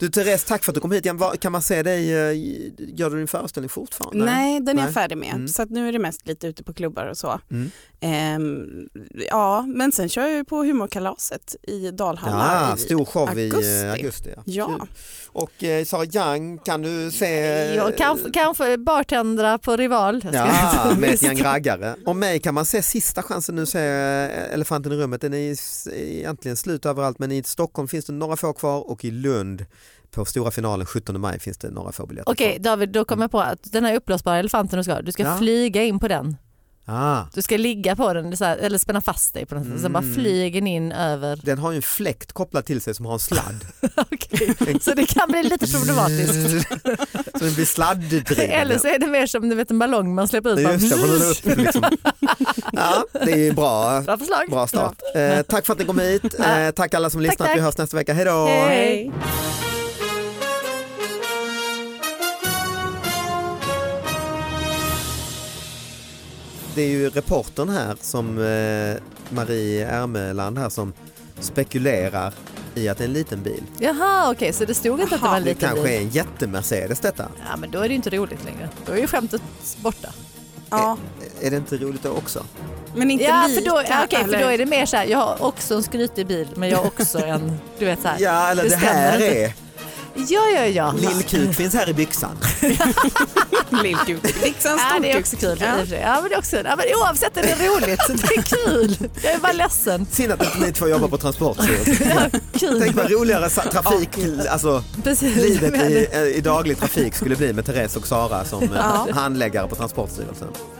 [SPEAKER 2] Du Therese, tack för att du kom hit. igen. Vad- Kan man se dig, eh, gör du din föreställning fortfarande?
[SPEAKER 4] Nej, den är
[SPEAKER 2] Nej.
[SPEAKER 4] jag färdig med.
[SPEAKER 2] Mm.
[SPEAKER 4] Så att nu är det mest lite ute på klubbar och så.
[SPEAKER 2] Mm.
[SPEAKER 4] Ehm, ja, men sen kör jag ju på humorkalaset i Dalhalla.
[SPEAKER 2] Ja,
[SPEAKER 4] i,
[SPEAKER 2] stor show i
[SPEAKER 4] augusti.
[SPEAKER 2] eh, augusti. Ja.
[SPEAKER 4] ja.
[SPEAKER 2] Och eh, Sara Young kan du se?
[SPEAKER 3] Jag kanske, kanske bartendra på Rival. Jag ska-
[SPEAKER 2] Ja, med ett gäng raggare. Och mig kan man se sista chansen nu, se eh, Elefanten i rummet. Den är i- s- egentligen slut överallt men i Stockholm finns det några få kvar och i Lund på stora finalen 17 maj finns det några få biljetter
[SPEAKER 3] Okej David, då kom jag på att den här uppblåsbara elefanten du ska ha, du ska
[SPEAKER 2] Liksom. Ja.
[SPEAKER 3] flyga in på den.
[SPEAKER 2] kvar. Ah,
[SPEAKER 3] Du ska ligga på den så här, eller spänna fast dig på något sätt. Sen bara
[SPEAKER 2] Mm.
[SPEAKER 3] flyger ni in över.
[SPEAKER 2] den har ju en fläkt kopplad till sig som har en sladd.
[SPEAKER 3] Okej. Så det kan bli lite problematiskt.
[SPEAKER 2] så den blir sladddriven.
[SPEAKER 3] Eller så är det mer som du vet, en ballong man släpper ut.
[SPEAKER 2] Det är
[SPEAKER 3] bara-
[SPEAKER 2] just det, man håller upp liksom. Ja, det är ju bra.
[SPEAKER 3] Bra förslag.
[SPEAKER 2] Bra start. Eh, tack för att ni kom hit. Eh, tack alla som lyssnat.
[SPEAKER 3] tack.
[SPEAKER 2] Vi hörs nästa vecka. Hej då!
[SPEAKER 3] Hej.
[SPEAKER 2] Det är ju reportern här som eh, Marie Ermeland här som spekulerar i att det är en liten bil.
[SPEAKER 3] Jaha, okej, så det stod inte att det var en
[SPEAKER 2] det
[SPEAKER 3] liten
[SPEAKER 2] kanske
[SPEAKER 3] bil.
[SPEAKER 2] är en jättemercedes detta.
[SPEAKER 3] Ja, men då är det ju inte roligt längre. Då är ju skämtet borta.
[SPEAKER 4] Ja,
[SPEAKER 2] Är det inte roligt då också?
[SPEAKER 4] men inte
[SPEAKER 3] ja,
[SPEAKER 4] lika.
[SPEAKER 3] för då, ja, okej, för
[SPEAKER 4] eller?
[SPEAKER 3] då är det mer så här, jag har också en skrytig bil, men jag har också en, du vet så här.
[SPEAKER 2] Ja, eller det,
[SPEAKER 3] stämmer
[SPEAKER 2] här
[SPEAKER 3] inte.
[SPEAKER 2] är,
[SPEAKER 3] Ja, ja, ja.
[SPEAKER 2] lillkuk finns här i byxan.
[SPEAKER 4] Lillkuk. Liksom
[SPEAKER 3] Ja, det är
[SPEAKER 4] storkuk.
[SPEAKER 3] också kul. i och
[SPEAKER 4] Ja.
[SPEAKER 3] för sig. Ja, men det är också, ja, men oavsett är det roligt. Det är kul. Jag är bara ledsen.
[SPEAKER 2] Synd att inte ni två jobbar på Transportstyrelsen. Tänk
[SPEAKER 3] Kul.
[SPEAKER 2] vad roligare sa- trafik, alltså
[SPEAKER 3] Precis.
[SPEAKER 2] livet
[SPEAKER 3] Men-
[SPEAKER 2] i, i daglig trafik skulle bli med Therese och Sara som eh,
[SPEAKER 4] Ja.
[SPEAKER 2] handläggare på Transportstyrelsen.